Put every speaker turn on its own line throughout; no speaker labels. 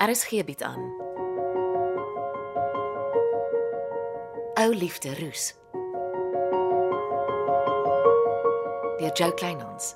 RSG bied Er aan. Ou liefde roes. Deur Jo Kleinhans.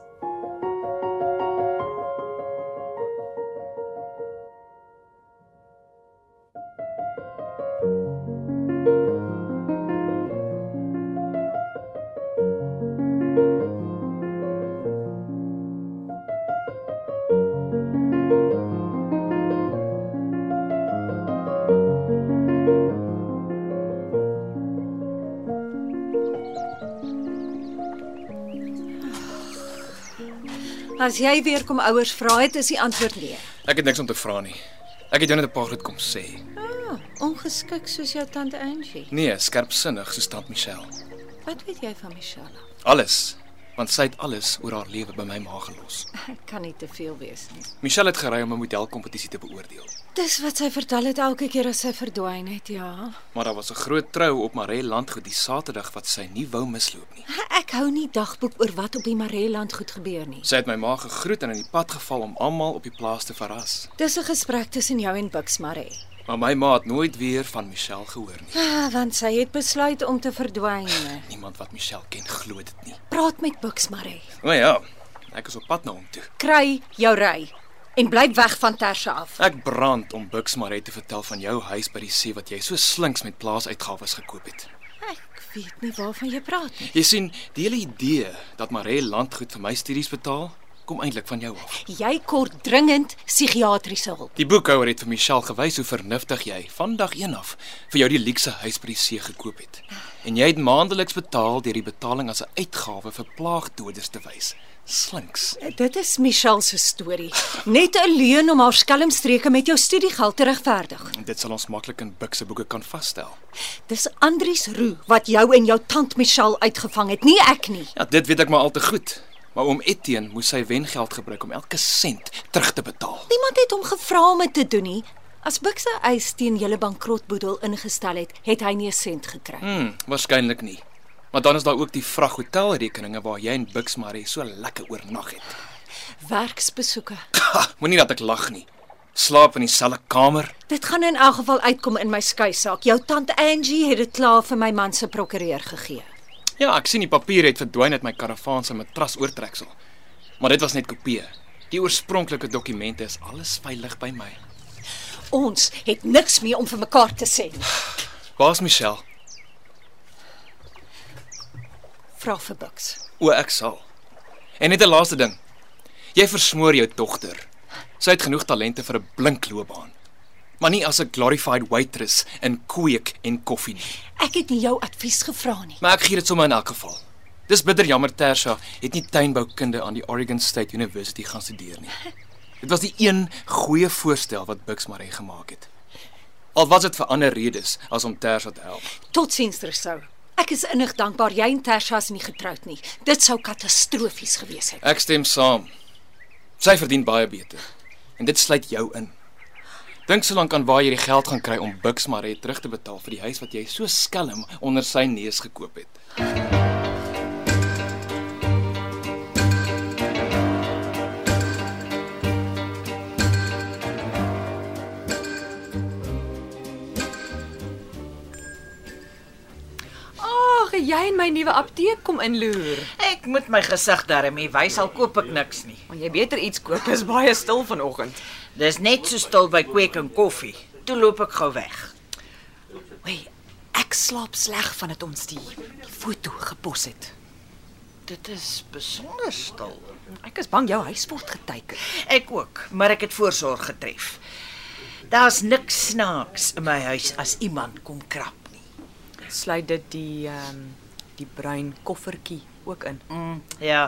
As jy weer kom ouers vra het, is die antwoord nee.
Ek het niks om te vra nie. Ek het jou net 'n paar goed kom sê.
Ah, ongeskik soos jou tante Angie.
Nee, skerpsinnig soos tant Michelle.
Wat weet jy van Michelle?
Alles, want sy het alles oor haar lewe by my ma gelos.
Ek kan nie te veel wees nie.
Michelle het gery om 'n modelkompetisie te beoordeel,
Dis wat sy vertel het elke keer as sy verdwyn het, ja.
maar daar was 'n groot trou op Maree Landgoed die Saterdag wat sy nie wou misloop nie.
Ek hou nie dagboek oor wat op die Mareland goed gebeur nie.
Sy het my ma gegroet en in die pad geval om almal op die plaas te verras.
Dis 'n gesprek tussen jou en Bux Maree.
Maar my ma het nooit weer van Michelle gehoor nie.
Ah, want sy het besluit om te verdwyn.
Niemand wat Michelle ken glo dit nie.
Praat met Bux Maree.
O ja, ek is op pad na hom toe.
Kry jou ry en bly weg van Tersa af.
Ek brand om Bux Maree te vertel van jou huis by die see wat jy so slinks met plaasuitgawes gekoop het.
Ek weet nie waarvan jy praat nie.
Jy sien, die hele idee dat Maree landgoed vir my studies betaal, kom eintlik van jou af.
Jy kort dringend psigiatriese hulp.
Die boekhouer het vir Michelle gewys hoe vernuftig jy vandag een af vir jou die luukse huis by die see gekoop het. En jy het maandeliks betaal deur die betaling as 'n uitgawe vir plaagdoders te wys. Slinks.
Dit is Michelle se storie. Net 'n leuen om haar skelmstreke met jou studiegeld te regverdig.
En dit sal ons maklik in Bux se boeke kan vasstel.
Dis Andrius Roo wat jou en jou tant Michelle uitgevang het, nie ek nie.
Ja, dit weet ek maar al te goed. Maar oom Etienne moes sy wengeld gebruik om elke sent terug te betaal.
Niemand het hom gevra om dit te doen nie. As Buk se eis teen julle bankrotboedel ingestel het, het hy nie 'n sent gekry.
Hm, waarskynlik nie. Maar dan is daar ook die vraghotelrekeninge waar jy en Bux Marie so lekker oornag het.
Werksbesoeke.
Ha, Moenie dat ek lag nie. Slaap in dieselfde kamer.
Dit gaan in elk geval uitkom in my skei saak. Jou tant Angie het dit klaar vir my man se prokureur gegee.
Ja, ek sien die papier het verdwyn uit my karavaan se matras oortreksel. Maar dit was net kopieë. Die oorspronklike dokumente is alles veilig by my.
Ons het niks meer om vir mekaar te sê nie.
Waar's Michelle?
Vra vir Buks.
O, ek sal. En net 'n laaste ding. Jy versmoor jou dogter. Sy het genoeg talente vir 'n blink loopbaan. Maar nie as 'n glorified waitress in kweek en koffie nie.
Ek het nie jou advies gevra nie.
Maar ek gee dit sommer in elk geval. Dis bitter jammer Tersha het nie tuinboukunde aan die Oregon State University gaan studeer nie. Dit was die een goeie voorstel wat Bux Maree gemaak het. Al was dit vir ander redes as om Tersha te help.
Totsiens Rousseau. Ek is innig dankbaar jy en Tersha is nie getroud nie. Dit sou katastrofies gewees het.
Ek stem saam. Sy verdien baie beter. En dit sluit jou in. Dink so lank aan waar jy die geld gaan kry om Bux Maree terug te betaal vir die huis wat jy so skelm onder sy neus gekoop het.
Ag, jy en my nuwe apteek kom inloer.
Ek moet my gesig daarmee wys al koop ek niks nie.
Maar jy beter iets koop. Dit is baie stil vanoggend.
Dis net so stil by kweek en koffie. Toe loop ek gou weg.
Wei, ek slaap sleg vandat ons die foto gepos het.
Dit is besonder stil.
Ek is bang jou huis word geteken.
Ek ook, maar ek het voorsorg getref. Daar's niks snaaks in my huis as iemand kom krap nie.
Sluit dit die ehm um, die bruin koffertjie ook in.
Mm, ja,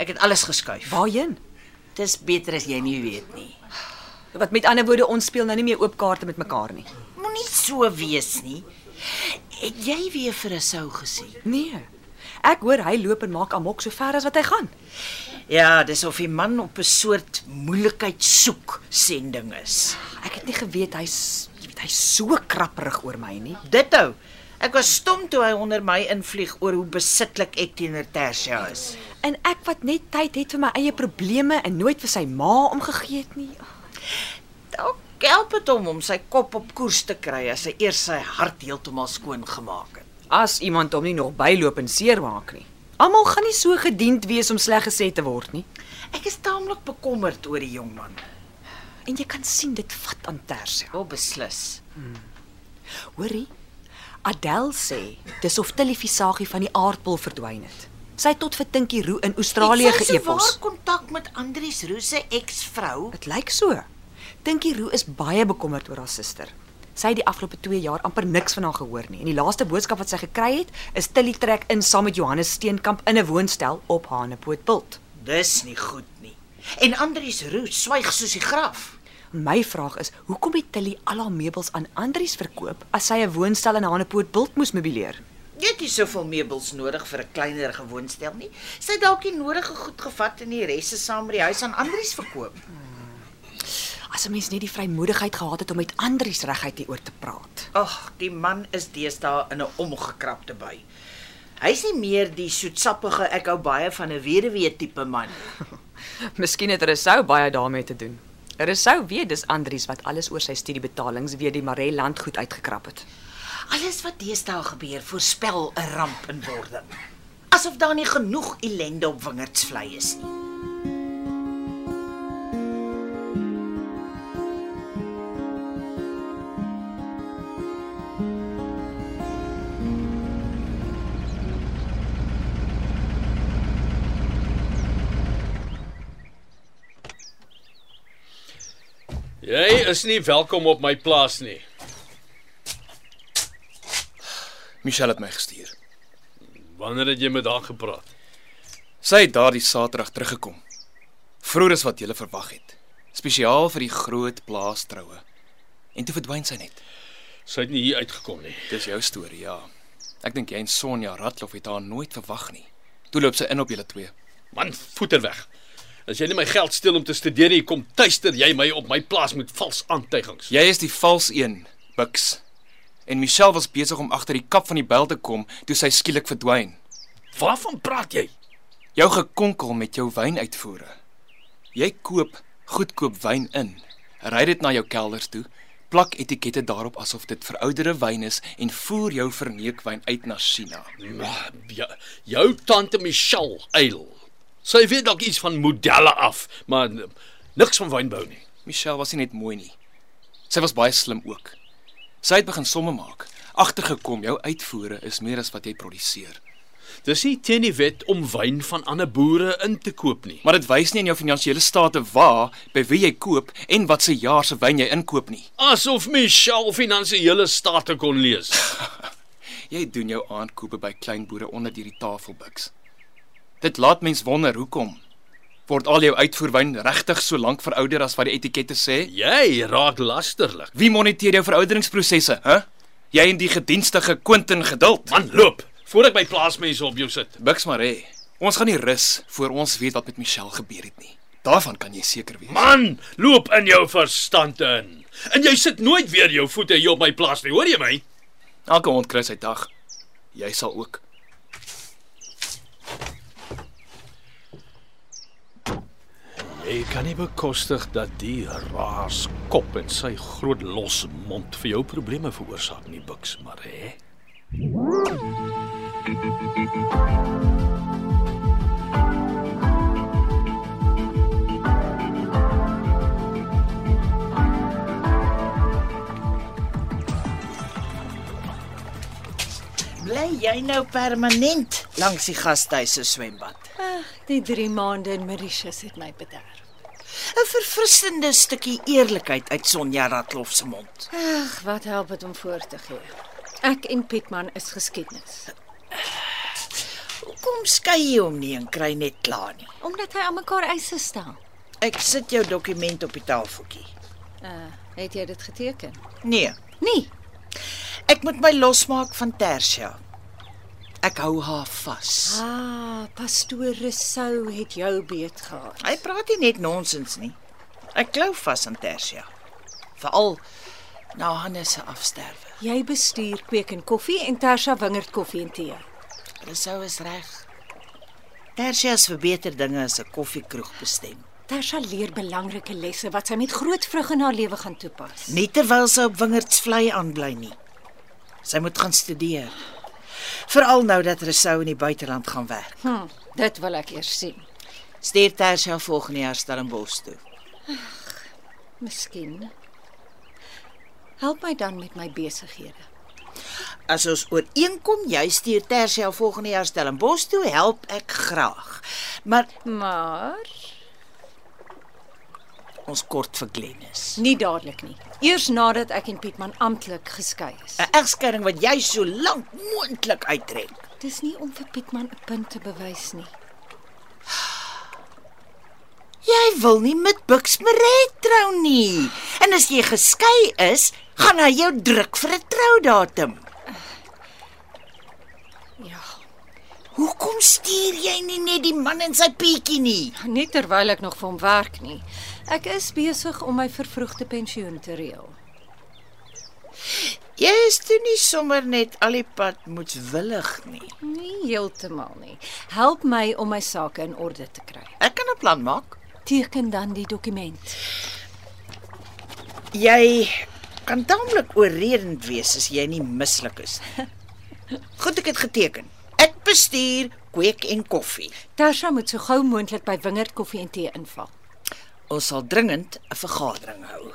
ek het alles geskuif.
Waarheen?
Dis beter as jy nie weet nie.
Wat met ander woorde, ons speel nou nie meer oop kaarte met mekaar nie.
Moenie so wees nie. Het jy weer vir 'n sou gesien?
Nee. Ek hoor hy loop en maak amok so ver as wat hy gaan.
Ja, dis of die man op 'n soort moeilikheid soek sending is.
Ek het nie geweet hy's jy weet hy's so krapperig oor my nie.
Dit ou. Ek was stom toe hy onder my invlieg oor hoe besitlik ek teenoor Tersia is.
En ek wat net tyd het vir my eie probleme en nooit vir sy ma omgegee het nie.
Dalk Ek help dit hom om sy kop op koers te kry as hy eers sy hart heeltemal skoon gemaak het.
As iemand hom nie nog byloop en seermaak nie. Almal gaan nie so gediend wees om sleg gesê te word nie.
Ek is taamlik bekommerd oor die jong man.
En jy kan sien dit vat aan terse.
Wel beslis.
Hoorie? Adel sê dis of Tilly Visagie van die aardbol verdwyn het. Sy het tot vir Tinkie Roo in Australië
Het sy se
geëpos.
Waar kontak met Andries Roos se eksvrou?
Dit lyk so. Tinkie Roo is baie bekommerd oor haar suster. Sy het die afgelope 2 jaar amper niks van haar gehoor nie en die laaste boodskap wat sy gekry het, is Tilly trek in saam met Johannes Steenkamp in 'n woonstel op Hanepootpult.
Dis nie goed nie. En Andries Roos swyg soos die graf.
My vraag is, hoekom het Tilly al haar meubels aan Andries verkoop as sy 'n woonstel in Hanepootpult moes meubileer?
Jy het nie soveel meubels nodig vir 'n kleiner gewoonstel nie. Sy het dalk die nodige goed gevat en die res is saam by die huis aan Andries verkoop.
As 'n mens net die vrymoedigheid gehad het om met Andries reguit hieroor te praat.
Ag, die man is deesdae in 'n omgekrapte by. Hy's nie meer die soetsappige ek hou baie van 'n weduwee tipe man.
Miskien het Rousseau baie daarmee te doen. Rousseau weet dis Andries wat alles oor sy studiebetalings weer die Maree landgoed uitgekrap het.
Alles wat deesdae gebeur, voorspel 'n ramp in wording. Asof daar nie genoeg ellende op wingerdsvlei is nie.
Jy is nie welkom op my plaas nie.
Michelle het my gestuur.
Wanneer het jy met haar gepraat?
Sy het daardie Saterdag teruggekom. Vroeër as wat jy verwag het. Spesiaal vir die groot plaasstroue. En toe verdwyn sy net.
Sy het nie hier uitgekom nie.
Dis jou storie, ja. Ek dink jy en Sonja Ratloff het haar nooit verwag nie. Toe loop sy in op julle twee.
Man, voeter weg. As jy nie my geld steel om te studeer nie, kom tuister jy my op my plaas met vals aantuigings.
Jy is die vals een, Bux. En Michelle was besig om agter die kap van die bel te kom toe sy skielik verdwyn.
Waarvan praat jy?
Jou gekonkel met jou wynuitvoere. Jy koop goedkoop wyn in. Ry dit na jou kelders toe. Plak etikette daarop asof dit verouderde wyn is en voer jou verneekwyn uit na China.
Ah, Ja, jou tante Michelle Eil. Sy weet dalk iets van modelle af, maar n- niks van wynbou nie.
Michelle was nie net mooi nie. Sy was baie slim ook. Sy het begin somme maak. Agtergekom jou uitvoere is meer as wat jy produseer.
Dis nie teen die wet om wyn van ander boere in te koop nie.
Maar dit wys nie in jou finansiële state waar by wie jy koop en wat se jaar se wyn jy inkoop nie.
Asof Michelle finansiële state kon lees.
Jy doen jou aankope by kleinboere onder hierdie tafelbuks. Dit laat mens wonder hoekom word al jou uitvoerwyn regtig so lank verouder as wat die etikette sê?
Jy raak lasterlik.
Wie moniteer jou verouderingsprosesse, hè? Jy en die gedienstige Quentin geduld.
Man loop voordat my plaasmense op jou sit.
Buks Maree, ons gaan nie rus voor ons weet wat met Michelle gebeur het nie. Daarvan kan jy seker wees.
Man, loop in jou verstand in. En jy sit nooit weer jou voete hier op my plaas nie, hoor jy my?
Elke hond kry sy dag. Jy sal ook.
Jy kan nie bekostig dat die raas kop en sy groot los mond vir jou probleme veroorsaak nie, Buks, maar hè.
Bly jy nou permanent langs die gastehuis se swembad?
Die 3 maande in Mauritius het my bederf.
'n Verfrissende stukkie eerlikheid uit Sonja Ratloff se mond.
Ag, wat help dit om voor te gee? Ek en Pietman is geskiedenis,
Hoekom skei jy hom nie en kry net klaar nie?
omdat hy aan mekaar eise stel.
Ek sit jou dokument op die tafeltjie.
Uh, het jy dit geteken?
Nee,
Nee,
ek moet my losmaak van Tersia. Ek hou haar vas.
Ah, pastoor Rousseau het jou beet gehad.
Hy praat nie net nonsens nie. Ek klou vas aan Tersia. Veral na Hannes se afsterwe.
Jy bestuur kweek en koffie en Tersha wingerd koffie en tee.
Rousseau is reg. Tersia is vir beter dinge as 'n koffiekroeg bestem.
Tasha leer belangrike lesse wat sy met groot vrug in haar lewe gaan toepas.
Nie terwyl sy op Wingerdsvlei aanbly nie. Sy moet gaan studeer. Veral nou dat Resou in die buiteland gaan werk.
Hm, dit wil ek eers sien.
Stuur Tersia volgende jaar Stellenbosch toe.
Miskien. Help my dan met my besighede.
As ons ooreenkom jy stuur Tersia volgende jaar Stellenbosch toe, help ek graag. Maar
Maar
ons kort vir Glennis.
nie dadelik nie. Eers nadat ek en Pietman amptelik geskei is.
'n Egskeiding wat jy so lank moontlik uittrek.
Dis nie om vir Pietman 'n punt te bewys nie.
Jy wil nie met Bux Meret trou nie. En as jy geskei is, gaan hy jou druk vir 'n troudatum.
Ja,
Hoekom stuur jy nie net die man in sy pietjie nie?
nie terwyl ek nog vir hom werk nie. Ek is besig om my vervroegde pensioen te reël.
Jy is toe nie sommer net al die pad moetswillig nie.
Nie heeltemal nie. Help my om my sake in orde te kry.
Ek kan 'n plan maak.
Teken dan die dokument.
Jy kan taamlik oorredend wees as jy nie mislik is nie. Goed, ek het geteken. Ek bestuur kweek en koffie.
Tasha moet so gou moontlik by Wingerd Koffie en Tee inval.
Ons sal dringend 'n vergadering hou.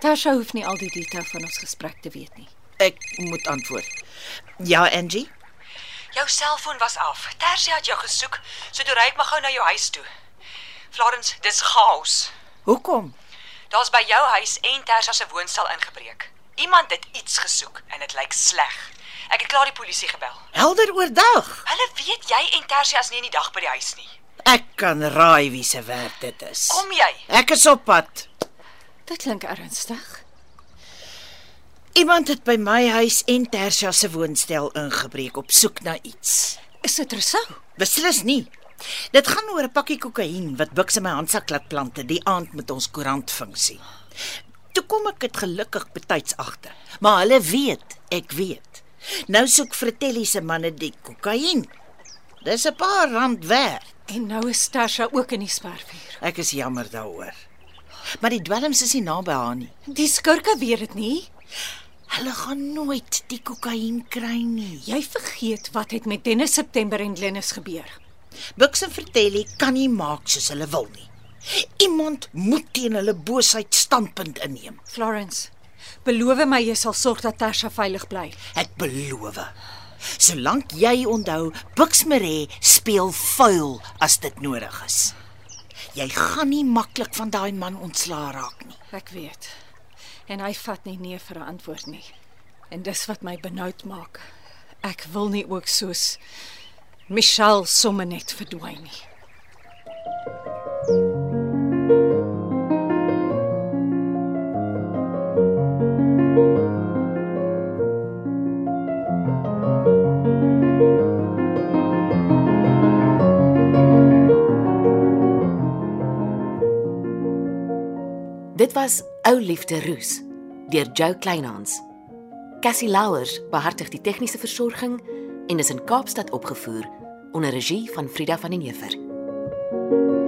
Tasha hoef nie al die detail van ons gesprek te weet nie.
Ek moet antwoord. Ja, Angie.
Jou selfoon was af. Tersia het jou gesoek, so toe ry ek maar gou na jou huis toe. Florence, dis chaos.
Hoekom?
Daar's by jou huis en Tersia se woonstel ingebreek. Iemand het iets gesoek en dit lyk sleg. Ek het klaar die polisie gebel.
Helder oordag.
Hulle weet jy en Tersia is nie in die dag by die huis nie.
Ek kan raai wie se werk dit is.
Kom jy?
Ek is op pad.
Dit klink ernstig.
Iemand het by my huis en Tersia se woonstel ingebreek op soek na iets.
Is dit Rousseau?
Beslis nie. Dit gaan oor 'n pakkie kokain wat Bux in my handsak laat plante die aand met ons koerantfunksie. Toe kom ek dit gelukkig betyds agter, maar hulle weet, ek weet. Nou soek Fratelli se manne die kokain. Dis 'n paar rand werd.
En nou is Tasha ook in die spervuur.
Ek is jammer daaroor. Maar die dwelms is nie naby haar nie.
Die skurke weet dit nie.
Hulle gaan nooit die kokain kry nie.
Jy vergeet wat het met Dennis September en Glenis gebeur.
Bux en Fratelli kan nie maak soos hulle wil nie. Iemand moet teen hulle boosheid standpunt inneem.
Florence, beloof my jy sal sorg dat Tasha veilig bly.
Ek beloof. Solank jy onthou, Buxmeré speel vuil as dit nodig is. Jy gaan nie maklik van daai man ontslaa raak nie.
Ek weet. En hy vat nie nee vir 'n antwoord nie. En dis wat my benoud maak. Ek wil nie ook soos Michelle sommer net verdwyn nie.
Dit was Ou Liefde Roos deur Jo Kleinhans. Cassie Louwers behartig die tegniese versorging en is in Kaapstad opgevoer onder regie van Frida van den Heever.